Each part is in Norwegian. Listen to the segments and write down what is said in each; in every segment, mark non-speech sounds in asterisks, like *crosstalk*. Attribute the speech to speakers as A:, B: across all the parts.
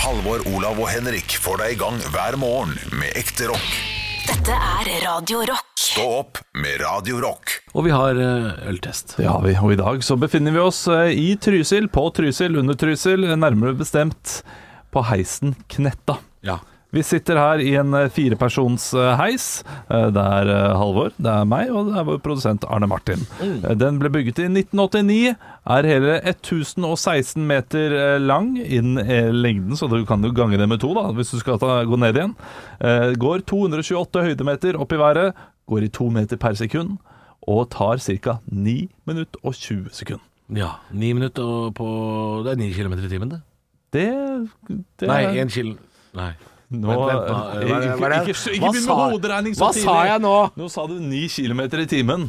A: Halvor, Olav og Henrik får deg i gang hver morgen med ekte rock.
B: Dette er Radio Rock.
A: Stå opp med Radio Rock.
C: Og vi har eh, øltest.
D: Det har vi, og i dag så befinner vi oss eh, i Trysil, på Trysil, under Trysil, nærmere bestemt på heisen Knetta.
C: Ja.
D: Vi sitter her i en eh, firepersons eh, heis. Eh, Det er eh, Halvor, det er meg, og det er vår produsent Arne Martin.
C: Mm.
D: Eh, Den ble bygget i 1989, er hele 1016 meter eh, lang innen eh, lengden, så du kan jo gange det med to da, hvis du skal ta, gå ned igjen. Eh, Går 228 høydemeter opp i været, går i to meter per sekund, og tar ca. 9 minutter og 20 sekunder.
C: ja. Ni minutter og på Det er ni kilometer i timen, det.
D: Det, det
C: Nei,
D: er-
C: én kilo... Nei.
D: Nå,
C: Vent, vent, hva-
D: eh,
C: hva er det- hva er det-
D: ikke, ikke, ikke
C: hva
D: begynn
C: sa
D: med
C: jeg-
D: hoderegning så
C: hva
D: tidlig.
C: sa jeg nå?
D: Nå sa du 9 km i timen.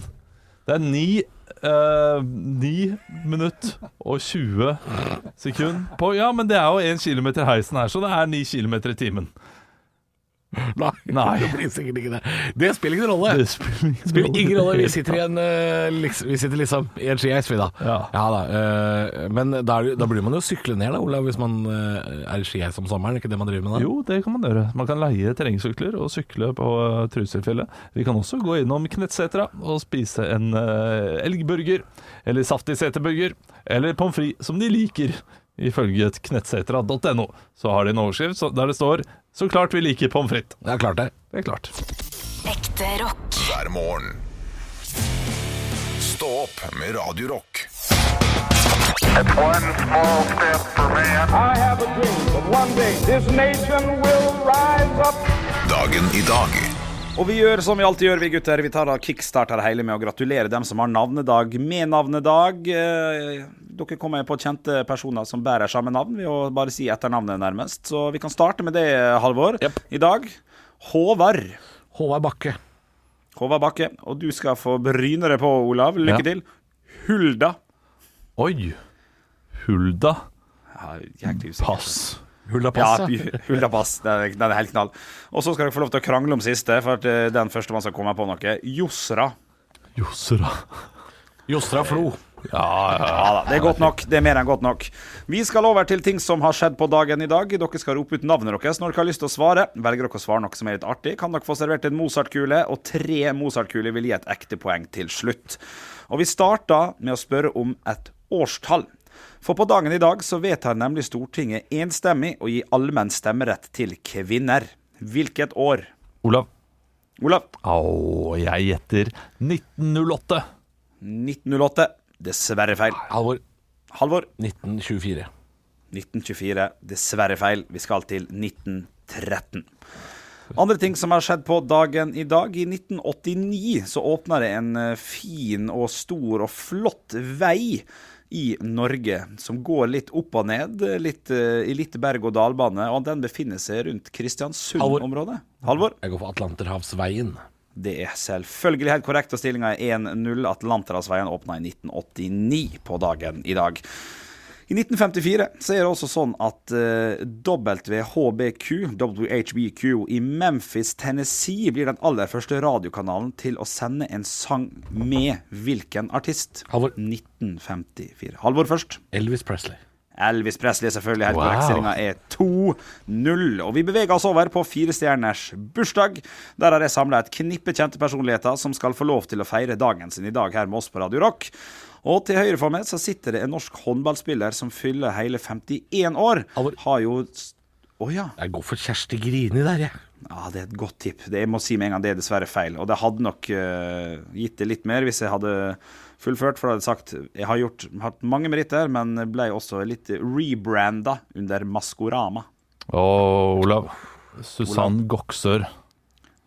D: Det er 9, eh, 9 minutt og 20 sekund på Ja, men det er jo 1 km heisen her, så det er 9 km i timen.
C: *laughs* Nei.
D: Nei.
C: *laughs* Det blir sikkert ikke det. Det spiller ingen rolle.
D: Det spiller
C: spiller ingen rolle. *laughs* Vi sitter, i en, eh, liksom, vi sitter liksom i en skiheis, vi da.
D: Ja.
C: da. eh, men da, er det- da blir man jo sykle ned da, Olav, hvis man eh, er i skiheis om sommeren. Er det ikke det man driver med da?
D: Jo, det kan man gjøre. Man kan leie terrengsykler og sykle på eh, Trysilfjellet. Vi kan også gå innom Knetsetra og spise en eh, elgburger, eller saftig seterburger, eller pommes frites som de liker. Ifølge knetsetra.no så har de en overskrift så- der det står 'Så klart vi liker pommes frites'.
C: Ja, klart det.
D: Det er klart.
B: Ekte rock.
A: Hver morgen. Stå opp med Radio Rock.
E: One small step for man.
F: I have a dream that one day this nation will rise up.
A: Dagen i dag.
G: Og vi gjør som vi alltid gjør, vi gutter. Vi tar da kickstarter hele med å gratulere dem som har navnedag med navnedag. Eh, Dere kommer på kjente personer som bærer samme navn, ved å bare si etternavnet nærmest. Så vi kan starte med det, Halvor. I dag Håvard.
C: Håvard Bakke.
G: Håvard Bakke. Og du skal få bryne deg på, Olav. Lykke
D: Ja.
G: til. Hulda.
D: Oi! Hulda
G: Ja, jæklig usikker.
D: Pass.
C: Hulda Pass,
G: Ja, Hulda Pass. Den er, den er helt knall. Og så skal dere få lov til å krangle om siste, for at eh, den første man skal komme på noe. Josra.
D: Josra.
C: Jostra Flo.
G: Ja da, det er godt nok. Det er mer enn godt nok. Vi skal over til ting som har skjedd på dagen i dag. Dere skal rope ut navnet deres når dere har lyst til å svare. Velger dere å svare noe som er litt artig, kan dere få servert en Mozart-kule, og tre Mozart-kuler vil gi et ekte poeng til slutt. Og vi starter med å spørre om et årstall. For på dagen i dag så vedtar nemlig Stortinget enstemmig å gi allmenn stemmerett til kvinner. Hvilket år?
D: Olav.
G: Olav?
D: Au, jeg gjetter 1908.
G: 1908. Dessverre feil.
C: Halvor.
G: Halvor?
C: 1924.
G: 1924. Dessverre feil. Vi skal til 1913. Andre ting som har skjedd på dagen i dag. I 1989 så åpna det en eh, fin og stor og flott vei i Norge som går litt opp og ned, litt, eh, i litt berg-og-dal-bane, og den befinner seg rundt Kristiansund-området. Halvor?
C: Jeg går for Atlanterhavsveien.
G: Det er selvfølgelig helt korrekt, og stillinga er 1-0. Atlanterhavsveien åpna i 1989 på dagen i dag. I 1954 så er det også sånn at eh, WHBQ, WHBQ i Memphis, Tennessee, blir den aller første radiokanalen til å sende en sang med hvilken artist?
C: Halvor.
G: 1954. Halvor først.
C: Elvis Presley.
G: Elvis Presley er selvfølgelig helt
C: Wow.
G: korrekt. Stillinga er 2-0. Og vi beveger oss over på firestjerners bursdag. Der har jeg samla et knippe kjente personligheter som skal få lov til å feire dagen sin i dag her med oss på Radio Rock. Og til høyre for meg så sitter det en norsk håndballspiller som fyller hele 51 år.
C: Halvor.
G: Har jo s- Å ja.
C: Jeg går for Kjersti Grini der, jeg.
G: Ja, det er et godt tipp. Det, jeg må si med en gang det er dessverre feil. Og det hadde nok eh, gitt det litt mer hvis jeg hadde fullført, for da hadde jeg sagt jeg har gjort, hatt mange meritter, men ble også litt rebranda under Maskorama.
D: Og Olav. Susann Goksør.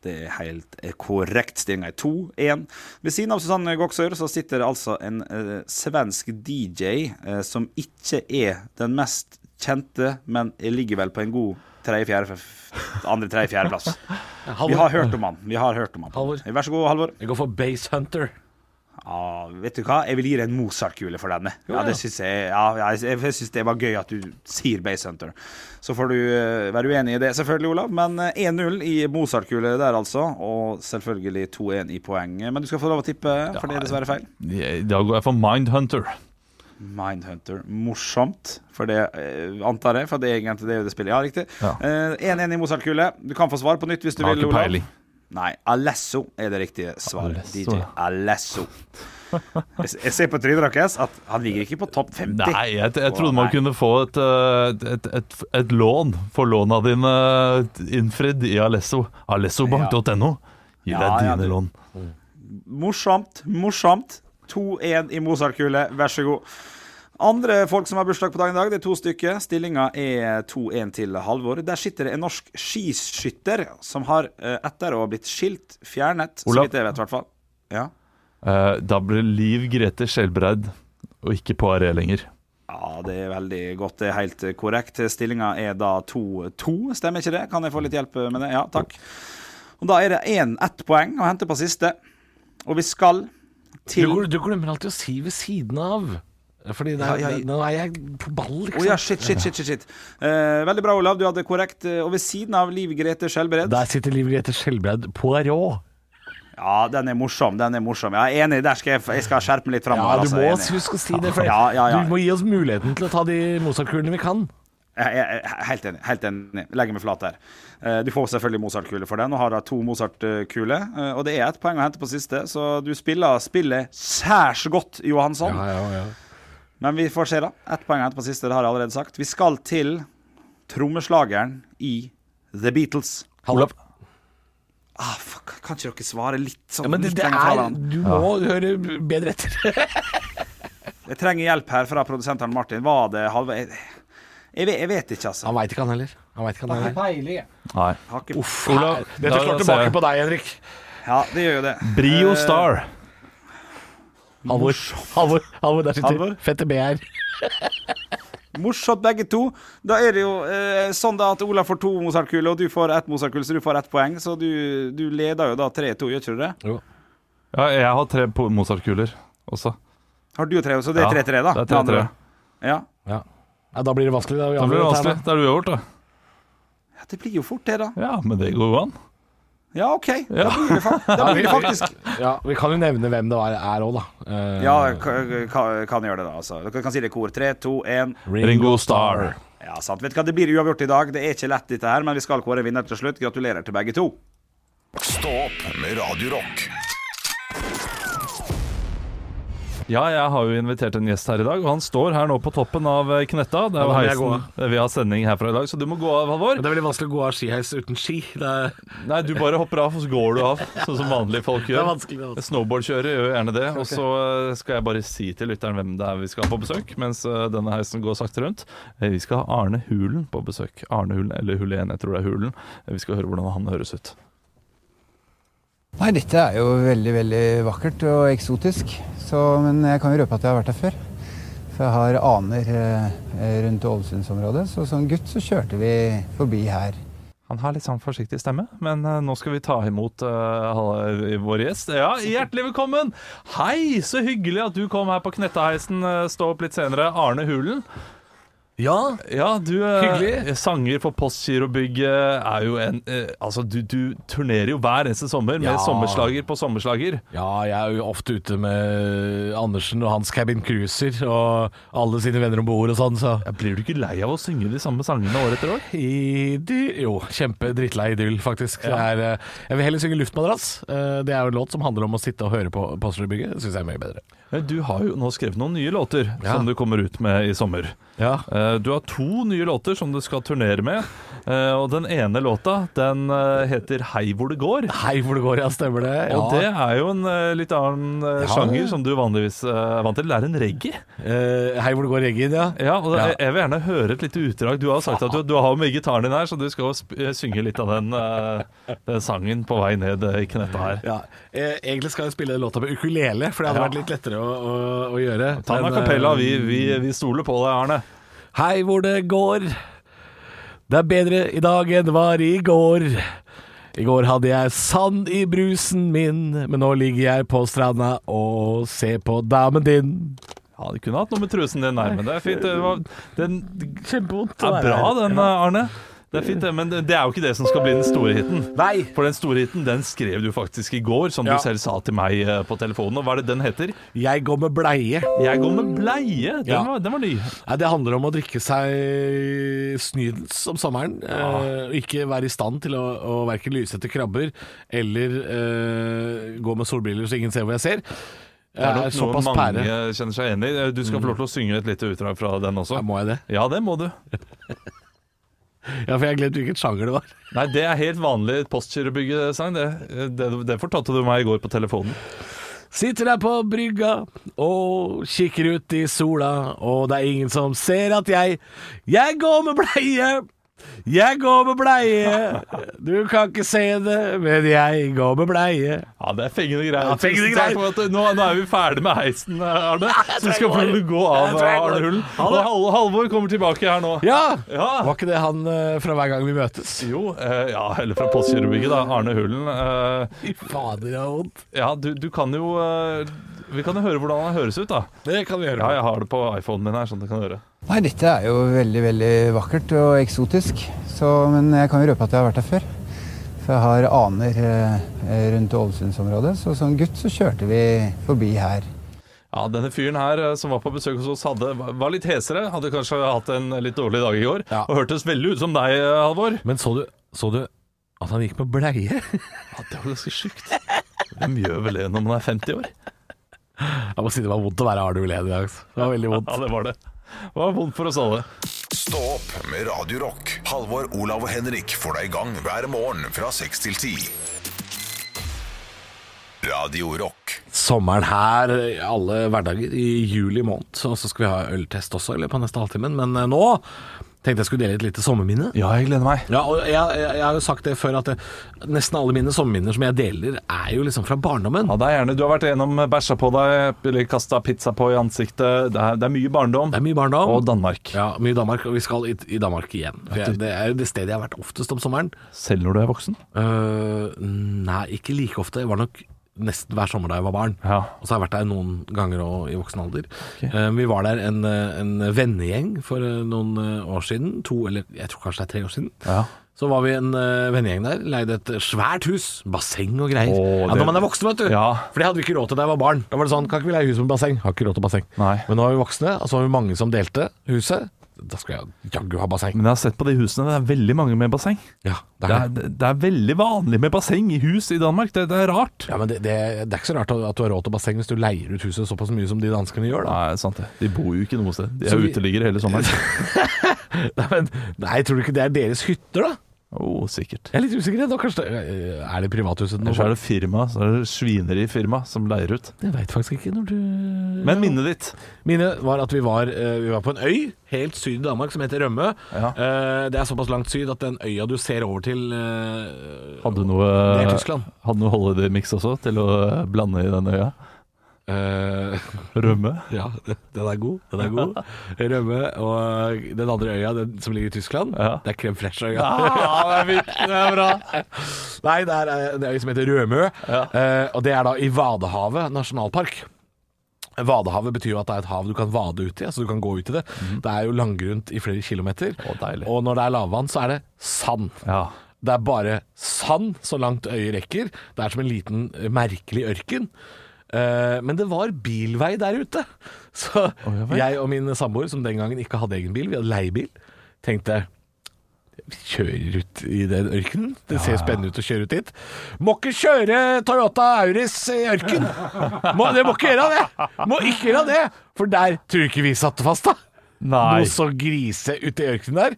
G: Det er helt eh, korrekt. Stillinga er 2-1. Ved siden av Susanne Goksør så sitter det altså en eh, svensk DJ eh, som ikke er den mest kjente, men ligger vel på en god tredje, fjerde, f- andre, tredje, fjerdeplass. Vi har hørt om han. Vi har hørt om han.
C: Halvor.
G: Vær så god, Halvor.
C: Jeg går for Base Hunter.
G: Ja, vet du hva? Jeg vil gi deg en Mozart-kule for denne. Ja, det synes jeg, ja, ja, jeg, jeg synes det var gøy at du sier Base Hunter. Så får du eh, være uenig i det, selvfølgelig, Olav. Men eh, 1-0 i Mozart-kule der, altså. Og selvfølgelig 2-1 i poeng. Men du skal få lov å tippe, for det er dessverre feil.
D: I dag går jeg for Mindhunter.
G: Mindhunter. Morsomt, for det eh, antar jeg. For det er egentlig det det spillet. Ja, riktig.
D: Ja.
G: 1-1 i Mozart-kule. Du kan få svar på nytt hvis du
D: Har
G: vil,
D: ikke
G: Olav.
D: peiling.
G: Nei, Alesso er det riktige svaret.
D: Alesso,
G: DJ
D: ja.
G: Alesso. Jeg jeg ser på trynet deres at han ligger ikke på topp 50.
D: Nei, jeg, jeg
G: Å,
D: trodde man
G: nei.
D: kunne få et, eh, et, et, et lån for låna dine innfridd i Alesso. Alessobank.no gir
G: Ja,
D: deg
G: ja,
D: dine
G: du-
D: lån.
G: Morsomt, morsomt. 2-1 i Mozart-kule, vær så god. Andre folk som har bursdag på dagen i dag, det er to stykker. Stillinga er 2-1 til Halvor. Der sitter det en norsk skiskytter som har, eh, etter å ha blitt skilt, fjernet Så
D: Olav.
G: vidt jeg vet, i hvert fall. Ja.
D: Eh, Da blir Liv Grete Skjelbreid, og ikke Poiré lenger.
G: ja, det er veldig godt. Det er helt eh, korrekt. Stillinga er da 2-2, stemmer ikke det? Kan jeg få litt hjelp med det? Ja, takk. Og Da er det én ett poeng å hente på siste. Og vi skal
C: Du,
G: til
C: gl- du glemmer alltid å si ved siden av. Fordi det er,
G: Ja, ja, ja.
C: nå er jeg på ball,
G: Å
C: liksom.
G: ja, shit, shit, shit. shit, shit. Eh, veldig bra, Olav. Du hadde korrekt. eh, Og ved siden av Liv Grete Skjelbred
C: Der sitter Liv Grete Skjelbreid Poirot.
G: Ja, den er morsom. Den er morsom. Jeg er enig. Der skal jeg, jeg skal skjerpe meg litt
C: Ja,
G: framover. altså.
C: du må huske å si det, for
G: Ja, ja, ja.
C: du må gi oss muligheten til å ta de Mozart-kulene vi kan.
G: Jeg jeg er helt enig. helt enig Legger meg flat der. Eh, Du får selvfølgelig Mozart-kule for den, og har da to Mozart-kuler. Eh, Og det er ett poeng å hente på siste, så du spiller spillet særs godt, Johansson. Men vi får se, da. Ett poeng å hente på siste, det har jeg allerede sagt. Vi skal til trommeslageren i The Beatles.
C: Olav.
G: Ah, fuck, kan ikke dere svare litt sånn?
C: Ja, men det,
G: litt
C: det
G: lenger fra
C: er
G: hverandre?
C: Du må høre bedre etter.
G: Jeg trenger hjelp her fra produsenten Martin. Var det halve Jeg, jeg, vet- jeg vet ikke, altså.
C: Han veit ikke, han heller. Han vet ikke han heller.
D: Nei.
G: Har ikke-
D: Olav,
C: Dette
D: da
C: slår
D: ser jeg.
C: tilbake på deg, Henrik.
G: Ja, det gjør jo det.
D: Brio
G: Eh,
D: Star.
C: Halvor. Halvor, Halvor der sitter
G: Halvor?
C: fette BR.
G: Morsomt, begge to. Da er det jo eh, sånn da at Ola får to Mozart-kuler, og du får ett Mozart-kule, så du får ett poeng. Så du, du leder jo da 3-2, gjør ikke du det?
D: Ja, jeg har tre po- Mozart-kuler også.
G: Har du tre, så det er 3-3, da?
D: Det er 3-3.
G: Ja.
C: Ja. ja, da blir det vanskelig. Da,
D: Da blir det vanskelig. Da er du uavgjort, da.
G: ja, det blir jo fort, det, da.
D: Ja, men det går jo an.
G: Ja, OK. Da blir det, fa da blir det faktisk
C: Ja, vi kan jo nevne hvem det var- er òg, da. Eh,
G: Ja, ka- ka- kan gjøre det, da. Altså. Dere kan si det i kor. 3, 2, 1.
D: Ringo Starr.
G: Ja, sant. Vet du hva, det blir uavgjort i dag. Det er ikke lett, dette her, men vi skal kåre en vinner til slutt. Gratulerer til begge to.
A: Stå opp med Radio Rock.
D: Ja, jeg har jo invitert en gjest her i dag, og han står her nå på toppen av eh, knetta. Det er jo
C: da må jeg
D: heisen. Vi har sending herfra i dag, så du må gå av, Halvor.
C: Men Det er veldig vanskelig å gå av skiheis uten ski. Det er,
D: Nei, du bare hopper av, og så går du av, sånn som vanlige folk
C: det er
D: gjør.
C: vanskelig. det altså. er vanskelig.
D: Snowboardkjørere gjør jo gjerne det. Og så eh, skal jeg bare si til lytteren hvem det er vi skal ha på besøk, mens eh, denne heisen går sakte rundt. Eh, Vi skal ha Arne Hulen på besøk. Arne Hulen, eller Hulen, jeg tror det er Hulen. Eh, Vi skal høre hvordan han høres ut.
H: Nei, dette er jo veldig, veldig vakkert og eksotisk. Så, men jeg kan jo røpe at jeg har vært her før. For jeg har aner eh, rundt Ålesundsområdet. Så som gutt så kjørte vi forbi her.
D: Han har litt sånn forsiktig stemme, men eh, nå skal vi ta imot eh, ha- vår gjest. Ja, hjertelig velkommen! Hei, så hyggelig at du kom her på Knettaheisen. eh, Stå opp litt senere. Arne Hulen.
C: Ja,
D: Ja, du eh,
C: Hyggelig.
D: sanger for Postgirobygget er jo en eh, Altså, du, du turnerer jo hver eneste sommer med
C: Ja.
D: sommerslager på sommerslager.
C: ja, jeg er jo ofte ute med Andersen og hans cabin cruiser og alle sine venner om bord og sånn, så
D: Ja, Blir du ikke lei av å synge de samme sangene år etter år?
C: Idyll Jo, kjempe drittlei idyll, faktisk. Det er, eh, jeg vil heller synge 'Luftmadrass'. Eh, Det er jo en låt som handler om å sitte og høre på Postgirobygget. Det syns jeg er mye bedre.
D: Ja, Du har jo nå skrevet noen nye låter
C: Ja.
D: som du kommer ut med i sommer.
C: Ja.
D: Eh, Du har to nye låter som du skal turnere med. Eh, Og den ene låta den eh, heter 'Hei hvor det går'.
C: Hei, hvor det går, ja. Stemmer det.
D: Og det er jo en eh, litt annen eh,
C: Ja.
D: sjanger som du vanligvis eh, er vant til. Det er en reggae.
C: Eh, Hei, hvor det går, Regin, ja.
D: Ja, og
C: Ja.
D: Jeg jeg vil gjerne høre et lite utdrag. Du har sagt at du, du har jo med gitaren din her, så du skal jo sp- eh, synge litt av den, eh, den sangen på vei ned eh, i knetta her.
C: ja. Eh, Egentlig skal jeg spille låta med ukulele, for det hadde
D: Ja.
C: vært litt lettere å, å, å gjøre.
D: Ta den
C: Men,
D: av kapella,
C: eh,
D: vi, vi, vi stoler på deg, Arne.
C: Hei, hvor det går. Det er bedre i dag enn det var i går. I går hadde jeg sand i brusen min, men nå ligger jeg på stranda og ser på damen din.
D: Ja, Du kunne hatt noe med trusen din der, men det er fint. Det, var, den, det
C: Kjempevondt.
D: er bra, den, eh, Arne. Det er fint, det, men det er jo ikke det som skal bli den store hiten.
C: Nei.
D: For den store hiten den skrev du faktisk i går, som
C: Ja.
D: du selv sa til meg eh, på telefonen. Og hva er det den heter?
C: Jeg går med bleie.
D: 'Jeg går med bleie'. Den,
C: Ja.
D: var, den var ny.
C: Nei, det handler om å drikke seg snydens om sommeren. eh, og ikke være i stand til å, å verken lyse etter krabber eller eh, gå med solbriller så ingen ser hvor jeg ser.
D: Det
C: Jeg
D: er
C: er,
D: nok noe
C: såpass
D: mange
C: pære. Mm.
D: kjenner seg enig i. Eh, Du skal få lov til å synge et lite utdrag fra den også.
C: Ja, må jeg det?
D: Ja, det må du.
C: Ja, for jeg har glemt hvilken sjanger det var.
D: Nei, det er helt vanlig Postgirobyggesang. Det, det, det fortalte du meg i går på telefonen.
C: Sitter der på brygga og kikker ut i sola, og det er ingen som ser at jeg Jeg går med bleie! Jeg går med bleie! Du kan ikke se det, men jeg går med bleie.
D: Ja, det er fengende greier.
C: Ja, fengende
D: Tusen takk
C: greier.
D: for at du- nå, nå er vi ferdig med heisen, eh, Arne.
C: jeg
D: Så vi skal
C: tror
D: få
C: jeg går.
D: gå av
C: Jeg tror jeg går.
D: Arne Hullen.
C: Ha det.
D: Og Hal- Halvor kommer tilbake her nå.
C: Ja!
D: Ja.
C: Var ikke det han eh, fra hver gang vi møtes?
D: Jo, eh, ja, eller fra Postgirobygget, da. Arne Hullen. eh,
C: Fy fader, det er vondt.
D: ja, du, du kan jo eh, Vi kan jo høre hvordan han høres ut, da.
C: Det kan vi gjøre.
D: Ja, jeg har det på iPhonen min her, sånn at du kan høre.
H: Nei, dette er jo veldig, veldig vakkert og eksotisk. Så, men jeg kan jo røpe at jeg har vært her før. For jeg har aner eh, rundt Ålesundsområdet. Så som gutt så kjørte vi forbi her.
D: Ja, denne fyren her eh, som var på besøk hos oss, hadde, var litt hesere. Hadde kanskje hatt en litt dårlig dag i går.
C: Ja.
D: Og hørtes veldig ut som deg, eh, Halvor.
C: Men så du, så du at han gikk med bleie?
D: Ja, det var ganske sjukt. Hvem gjør vel det når man er 50 år?
C: Jeg må si det var vondt å være Arne Ulen i dag. altså. Det var veldig vondt.
D: Ja, det var det. Det var vondt for oss alle.
A: Stå opp med Radio Rock. Halvor, Olav og Henrik får deg i gang hver morgen fra 6 til 10. Radio Rock.
C: Sommeren her, eh, alle hverdager i juli måned, og så skal vi ha øltest også i løpet av neste halvtimen. Men eh, nå tenkte jeg skulle dele et lite sommerminne.
D: Ja, jeg gleder meg.
C: Ja, og jeg, jeg, jeg har jo sagt det før at det, nesten alle mine sommerminner som jeg deler, er jo liksom fra barndommen.
D: Ja, det er gjerne. Du har vært gjennom eh, bæsja på deg, eller kasta pizza på i ansiktet. Det er, det er mye barndom.
C: Det er mye barndom.
D: Og Danmark.
C: Ja, mye Danmark, og vi skal i, i Danmark igjen. For jeg, det er jo det stedet jeg har vært oftest om sommeren.
D: Selv når du er voksen.
C: Øh, nei, ikke like ofte. Jeg var nok nesten hver sommer da jeg var barn.
D: Ja.
C: Og så har jeg vært der noen ganger og, i voksen alder. Eh, vi var der en, eh, en vennegjeng for eh, noen eh, år siden. To, eller jeg tror kanskje det er tre år siden.
D: Ja.
C: Så var vi en eh, vennegjeng der. Leide et svært hus. Basseng og greier.
D: Åh,
C: ja,
D: det-
C: når man er voksen, vet du.
D: Ja.
C: For det hadde vi ikke råd til da jeg var barn. Da var det sånn, Kan ikke vi leie hus med basseng? Har ikke råd til basseng.
D: Nei.
C: Men nå er vi voksne, og så var vi mange som delte huset. Da skal jeg jaggu ha basseng.
D: Men jeg har sett på de husene, det er veldig mange med basseng.
C: Ja,
D: Mm. Det er, det er veldig vanlig med basseng i hus i Danmark. Det, det er rart.
C: Ja, men det, det, det er ikke så rart at at du har råd til basseng hvis du leier ut huset såpass mye som de danskene gjør, *laughs* da.
D: Nei, sant det. De bor jo ikke noe sted. De
C: Så
D: er
C: vi-
D: uteliggere hele *laughs* sommeren.
C: Nei, men, nei, tror du ikke det er deres hytter, da?
D: Oh, sikkert.
C: Jeg er litt usikker. Da, kanskje det, eh, er det privathuset nå?
D: Ellers er det firma, så er det svinerifirma som leier ut.
C: Jeg veit faktisk ikke når du
D: Men minnet ditt
C: Mine var at vi var, eh, vi var på en øy helt syd i Danmark som heter Rømme.
D: Ja.
C: Eh, Det er såpass langt syd at den øya du ser over til eh,
D: Hadde du noe
C: Det er Tyskland.
D: Hadde du noe holiday mix også til å blande i den øya?
C: eh,
D: Rømme?
C: Ja, den er god. Den er
D: *laughs*
C: god. Rømme og den andre øya den som ligger i Tyskland,
D: Ja.
C: det er Krem Fresh-øya.
D: Ja, det er fint. Det er bra.
C: *laughs* Nei, det er eh, en øy som heter Rømø, eh, og det er da i Vadehavet nasjonalpark. Vadehavet betyr jo at det er et hav du kan vade ut i, altså du kan gå ut i det. Det er jo langgrunt i flere kilometer,
D: Mhm. Å, deilig.
C: og når det er lavvann så er det sand.
D: Ja.
C: Det er bare sand så langt øyet rekker. Det er som en liten eh, merkelig ørken. Eh, Men det var bilvei der ute. *laughs* Så
D: ja vel.
C: jeg og min samboer, som den gangen ikke hadde egen bil, vi hadde leiebil, tenkte vi kjører ut i den ørkenen. Det ser spennende ut å kjøre ut dit. Må ikke kjøre Toyota Auris i ørken! *laughs* Må, det må ikke gjøre det! Må ikke gjøre det! For der tror ikke vi satt fast, da.
D: Nei.
C: Noe så grise ute i ørkenen der.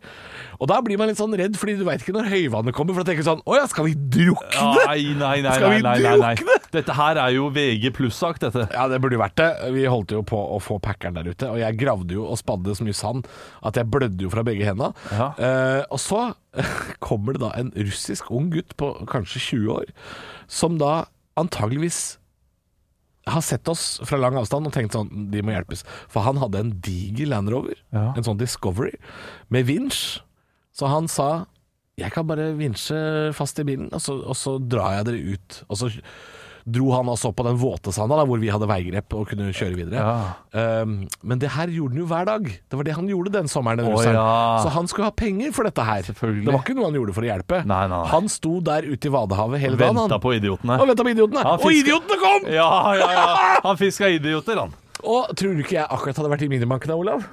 C: Og da blir man litt sånn redd, fordi du veit ikke når høyvannet kommer. For da tenker du sånn Å ja, skal vi drukne?
D: Nei, nei, nei,
C: Skal
D: nei,
C: vi
D: nei, nei, nei.
C: drukne?
D: Dette her er jo VG pluss-sak, dette.
C: Ja, det burde jo vært det. Vi holdt jo på å få packeren der ute, og jeg gravde jo og spadde så mye sand at jeg blødde jo fra begge henda.
D: Ja.
C: Eh, og så *laughs* kommer det da en russisk ung gutt på kanskje 20 år, som da antageligvis har sett oss fra lang avstand og tenkt sånn, de må hjelpes. For han hadde en diger Land Rover,
D: Ja.
C: en sånn Discovery, med vinsj. Så han sa, jeg kan bare vinsje fast i bilen, og så, og så drar jeg dere ut. Og så dro han altså opp på den våte sanda da, hvor vi hadde veigrep og kunne kjøre videre.
D: Ja.
C: Ehm, men det her gjorde han jo hver dag. Det var det han gjorde den sommeren. Den
D: Å,
C: russeren.
D: ja.
C: Så han skulle ha penger for dette her.
D: Selvfølgelig.
C: Det var ikke noe han gjorde for å hjelpe.
D: Nei, nei, nei.
C: Han sto der ute i Vadehavet hele dagen.
D: Venta
C: han.
D: på idiotene.
C: Og venta på idiotene.
D: Ja,
C: og
D: fisk-
C: idiotene kom!
D: Ja, ja, ja. Han fiska idioter, han.
C: Og tror du ikke jeg akkurat hadde vært i minibanken da, Olav?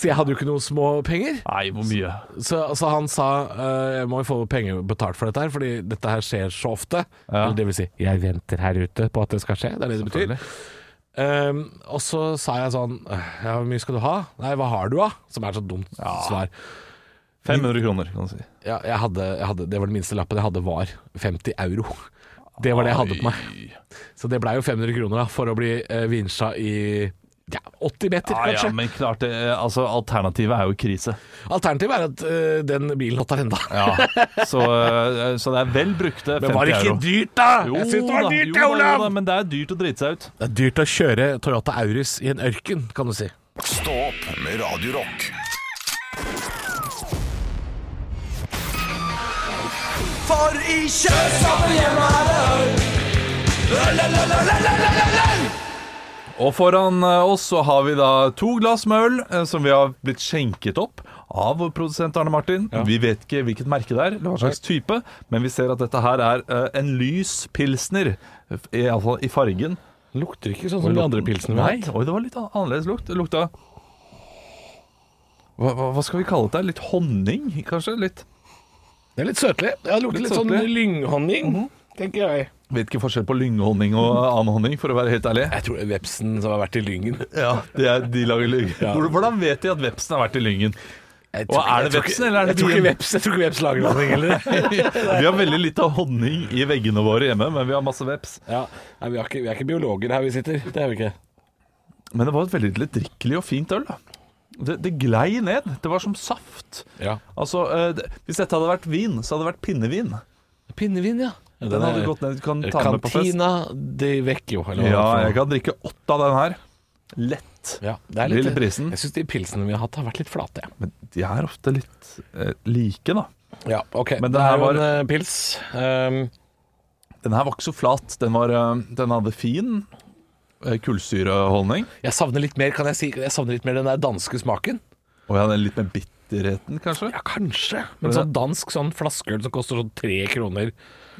C: Så jeg hadde jo ikke noe små penger.
D: Nei, hvor mye?
C: Så, så han sa eh, jeg må jo få penger betalt for dette her, fordi dette her skjer så ofte. Eller det vil si, jeg venter her ute på at det skal skje. Det er det det betyr. Ehm, og så sa jeg sånn Ja, hvor mye skal du ha? Nei, hva har du, da? Som er et så dumt svar.
D: 500 kroner, kan du si.
C: Ja, jeg hadde, jeg hadde, det var den minste lappen jeg hadde, var 50 euro. Det var det jeg hadde på meg. Så det blei jo 500 kroner da, for å bli uh, vinsja i ja, 80 meter,
D: Ja, ja,
C: kanskje.
D: men klart det, altså, Alternativet er jo krise.
C: Alternativet er at eh, den bilen låter enda.
D: Så, eh, så det er vel brukte 50 euro.
C: Men var det ikke dyrt, da?
D: Jo
C: jeg synes det var
D: da,
C: dyrt,
D: jo da,
C: ja,
D: jo da,
C: Olav!
D: Men det er dyrt å drite seg ut.
C: Det er dyrt å kjøre Toyota Auris i en ørken, kan du si.
A: Stå opp med Radio Rock.
D: Og foran eh, oss så har vi da to glass med øl eh, som vi har blitt skjenket opp av vår produsent Arne Martin. Vi vet ikke hvilket merke det er, eller hva slags type, men vi ser at dette her er eh, en lys pilsner. Iallfall i fargen.
C: Lukter ikke sånn
D: Nei, oi, det var litt an- annerledes lukt. Det lukta hva, hva, hva skal vi kalle det? Litt honning, kanskje? Litt
C: Det er litt søtlig. Mhm. Ja, det lukter
D: Litt
C: litt, sånn
D: søtlig.
C: lynghonning, tenker jeg.
D: Vet ikke forskjell på lynghonning og annen honning, for å være helt ærlig.
C: Jeg tror det er vepsen som har vært i *laughs* lyngen.
D: Ja, de, er, de lager lyng. Hvordan vet de at vepsen har vært i lyngen?
C: Jeg
D: Og
C: tror ikke-
D: er det
C: jeg tror ikke-
D: vepsen, eller er det
C: jeg tror ikke
D: bien?
C: veps, Jeg tror ikke veps lager honning heller.
D: *laughs* Vi har veldig lite honning i veggene våre hjemme, men vi har masse veps.
C: Ja, nei, vi, er ikke, vi er ikke biologer her vi sitter. Det er vi ikke.
D: Men det var et veldig drikkelig og fint øl. da. Det, det glei ned. Det var som saft.
C: Ja.
D: Altså, eh, det, Hvis dette hadde vært vin, så hadde det vært pinnevin.
C: Pinnevin, ja.
D: Den, hadde gått ned. Du kan ta den med på fest.
C: Cantina de Vecchio. eller hva det
D: Ja,
C: er for noe.
D: jeg kan drikke åtte av den her. Lett.
C: ja, det er
D: Lille prisen.
C: Jeg syns de pilsene vi har hatt, har vært litt flate. Ja.
D: Men de er ofte litt eh, like, da.
C: Ja, ok.
D: Men
C: det
D: det
C: er
D: her
C: jo
D: var-
C: en eh, pils. Ehm,
D: Den her var ikke så flat. Den, var, eh, den hadde fin eh, kullsyreholdning.
C: jeg savner litt mer, kan jeg si. Jeg savner litt mer den der danske smaken.
D: Og jeg hadde litt med bitterheten, kanskje.
C: Ja, kanskje. Men
D: det-
C: sånn dansk sånn flaskeøl som koster sånn tre kroner,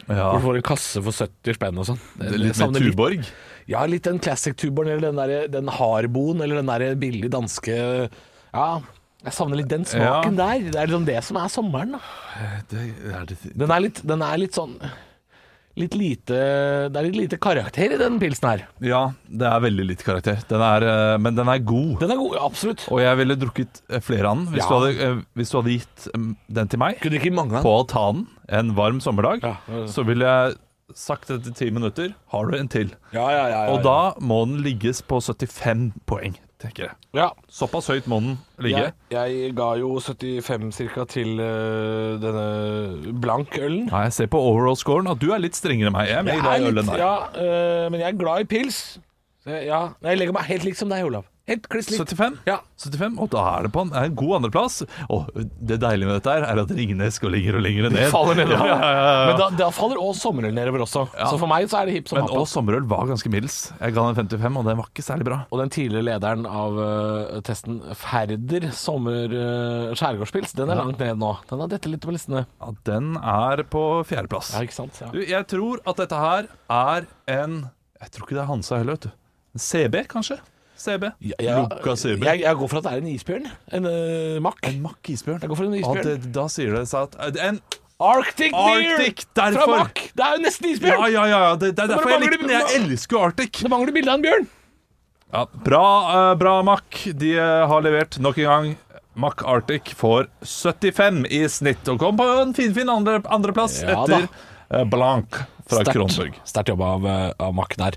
D: Ja.
C: hvor du får en kasse for 70 spenn og sånn.
D: Det er
C: Jeg
D: Litt
C: savner
D: med Tuborg.
C: Ja, litt den classic tuboren, eller den, der, den harboen, eller den der billige danske Ja, jeg savner litt den smaken der. Det er liksom det som er sommeren, da.
D: Det er det
C: Den er litt, den er litt sånn Litt lite Det er litt lite karakter i den pilsen her.
D: Ja, det er veldig litt karakter. Den er, eh, men den er god.
C: Den er god, absolutt.
D: Og jeg ville drukket eh, flere av den hvis,
C: Ja.
D: du, hadde, eh, hvis du hadde gitt mm, den til meg
C: Kunne drikke mange av
D: på
C: den.
D: altanen en varm sommerdag.
C: Ja, ja, ja.
D: Så ville jeg sagt etter ti minutter har du en til.
C: Ja, ja, ja, ja,
D: Og da må den ligges på 75 poeng, tenker jeg.
C: ja.
D: Såpass høyt må den ligge.
C: Jeg, jeg ga jo 75 cirka til øh, denne blankølen.
D: Ja, jeg ser på overall scoren at du er litt strengere enn meg. Jeg er mer
C: Jeg
D: glad
C: er
D: i øl
C: litt-
D: enn deg.
C: ja, øh, men jeg er glad i pils. Så jeg- Ja. Nei, Jeg legger meg helt lik som deg, Olav. Helt kliss lik.
D: 75?
C: Ja.
D: 75, og da er det på en, er en god andreplass. Og det deilige med dette her er at Ringnes går lenger og lenger ned.
C: faller nedover.
D: Ja, ja, ja, ja.
C: Men da, da faller òg sommerøl nedover også. Så for meg så er det hipp som
D: Men
C: happ.
D: og sommerøl var ganske middels. Jeg ga den 55, og den var ikke særlig bra.
C: Og den tidligere lederen av øh, testen, Færder sommer øh, skjærgårdspils, den er langt ned nå. Den har dette litt på listene.
D: Ja, den er på fjerdeplass.
C: Ja, ikke sant? Ja.
D: Du, jeg tror at dette her er en Jeg tror ikke det er Hansa heller, vet du. En CB, kanskje? CB. Lukka CB.
C: jeg, jeg går for at det er en isbjørn. En øh, makk.
D: en Mack isbjørn.
C: Jeg går for en
D: Ja,
C: isbjørn.
D: det, da sier det seg at En
C: Arctic,
D: Arctic,
C: Beer
D: derfor.
C: fra Mack. Det er jo nesten isbjørn!
D: Ja, ja, ja. ja, Det, det er
C: bare
D: derfor jeg
C: mangler
D: likte den. Jeg elsker jo Arctic.
C: Det mangler bilde av en bjørn.
D: Ja, bra, eh, bra Mack. De eh, har levert nok en gang. Mack Arctic får 75 i snitt og kom på en finfin andre, andreplass
C: Ja da.
D: etter eh, Blanc fra Kronborg.
C: Sterkt jobba av, eh, av Mack der.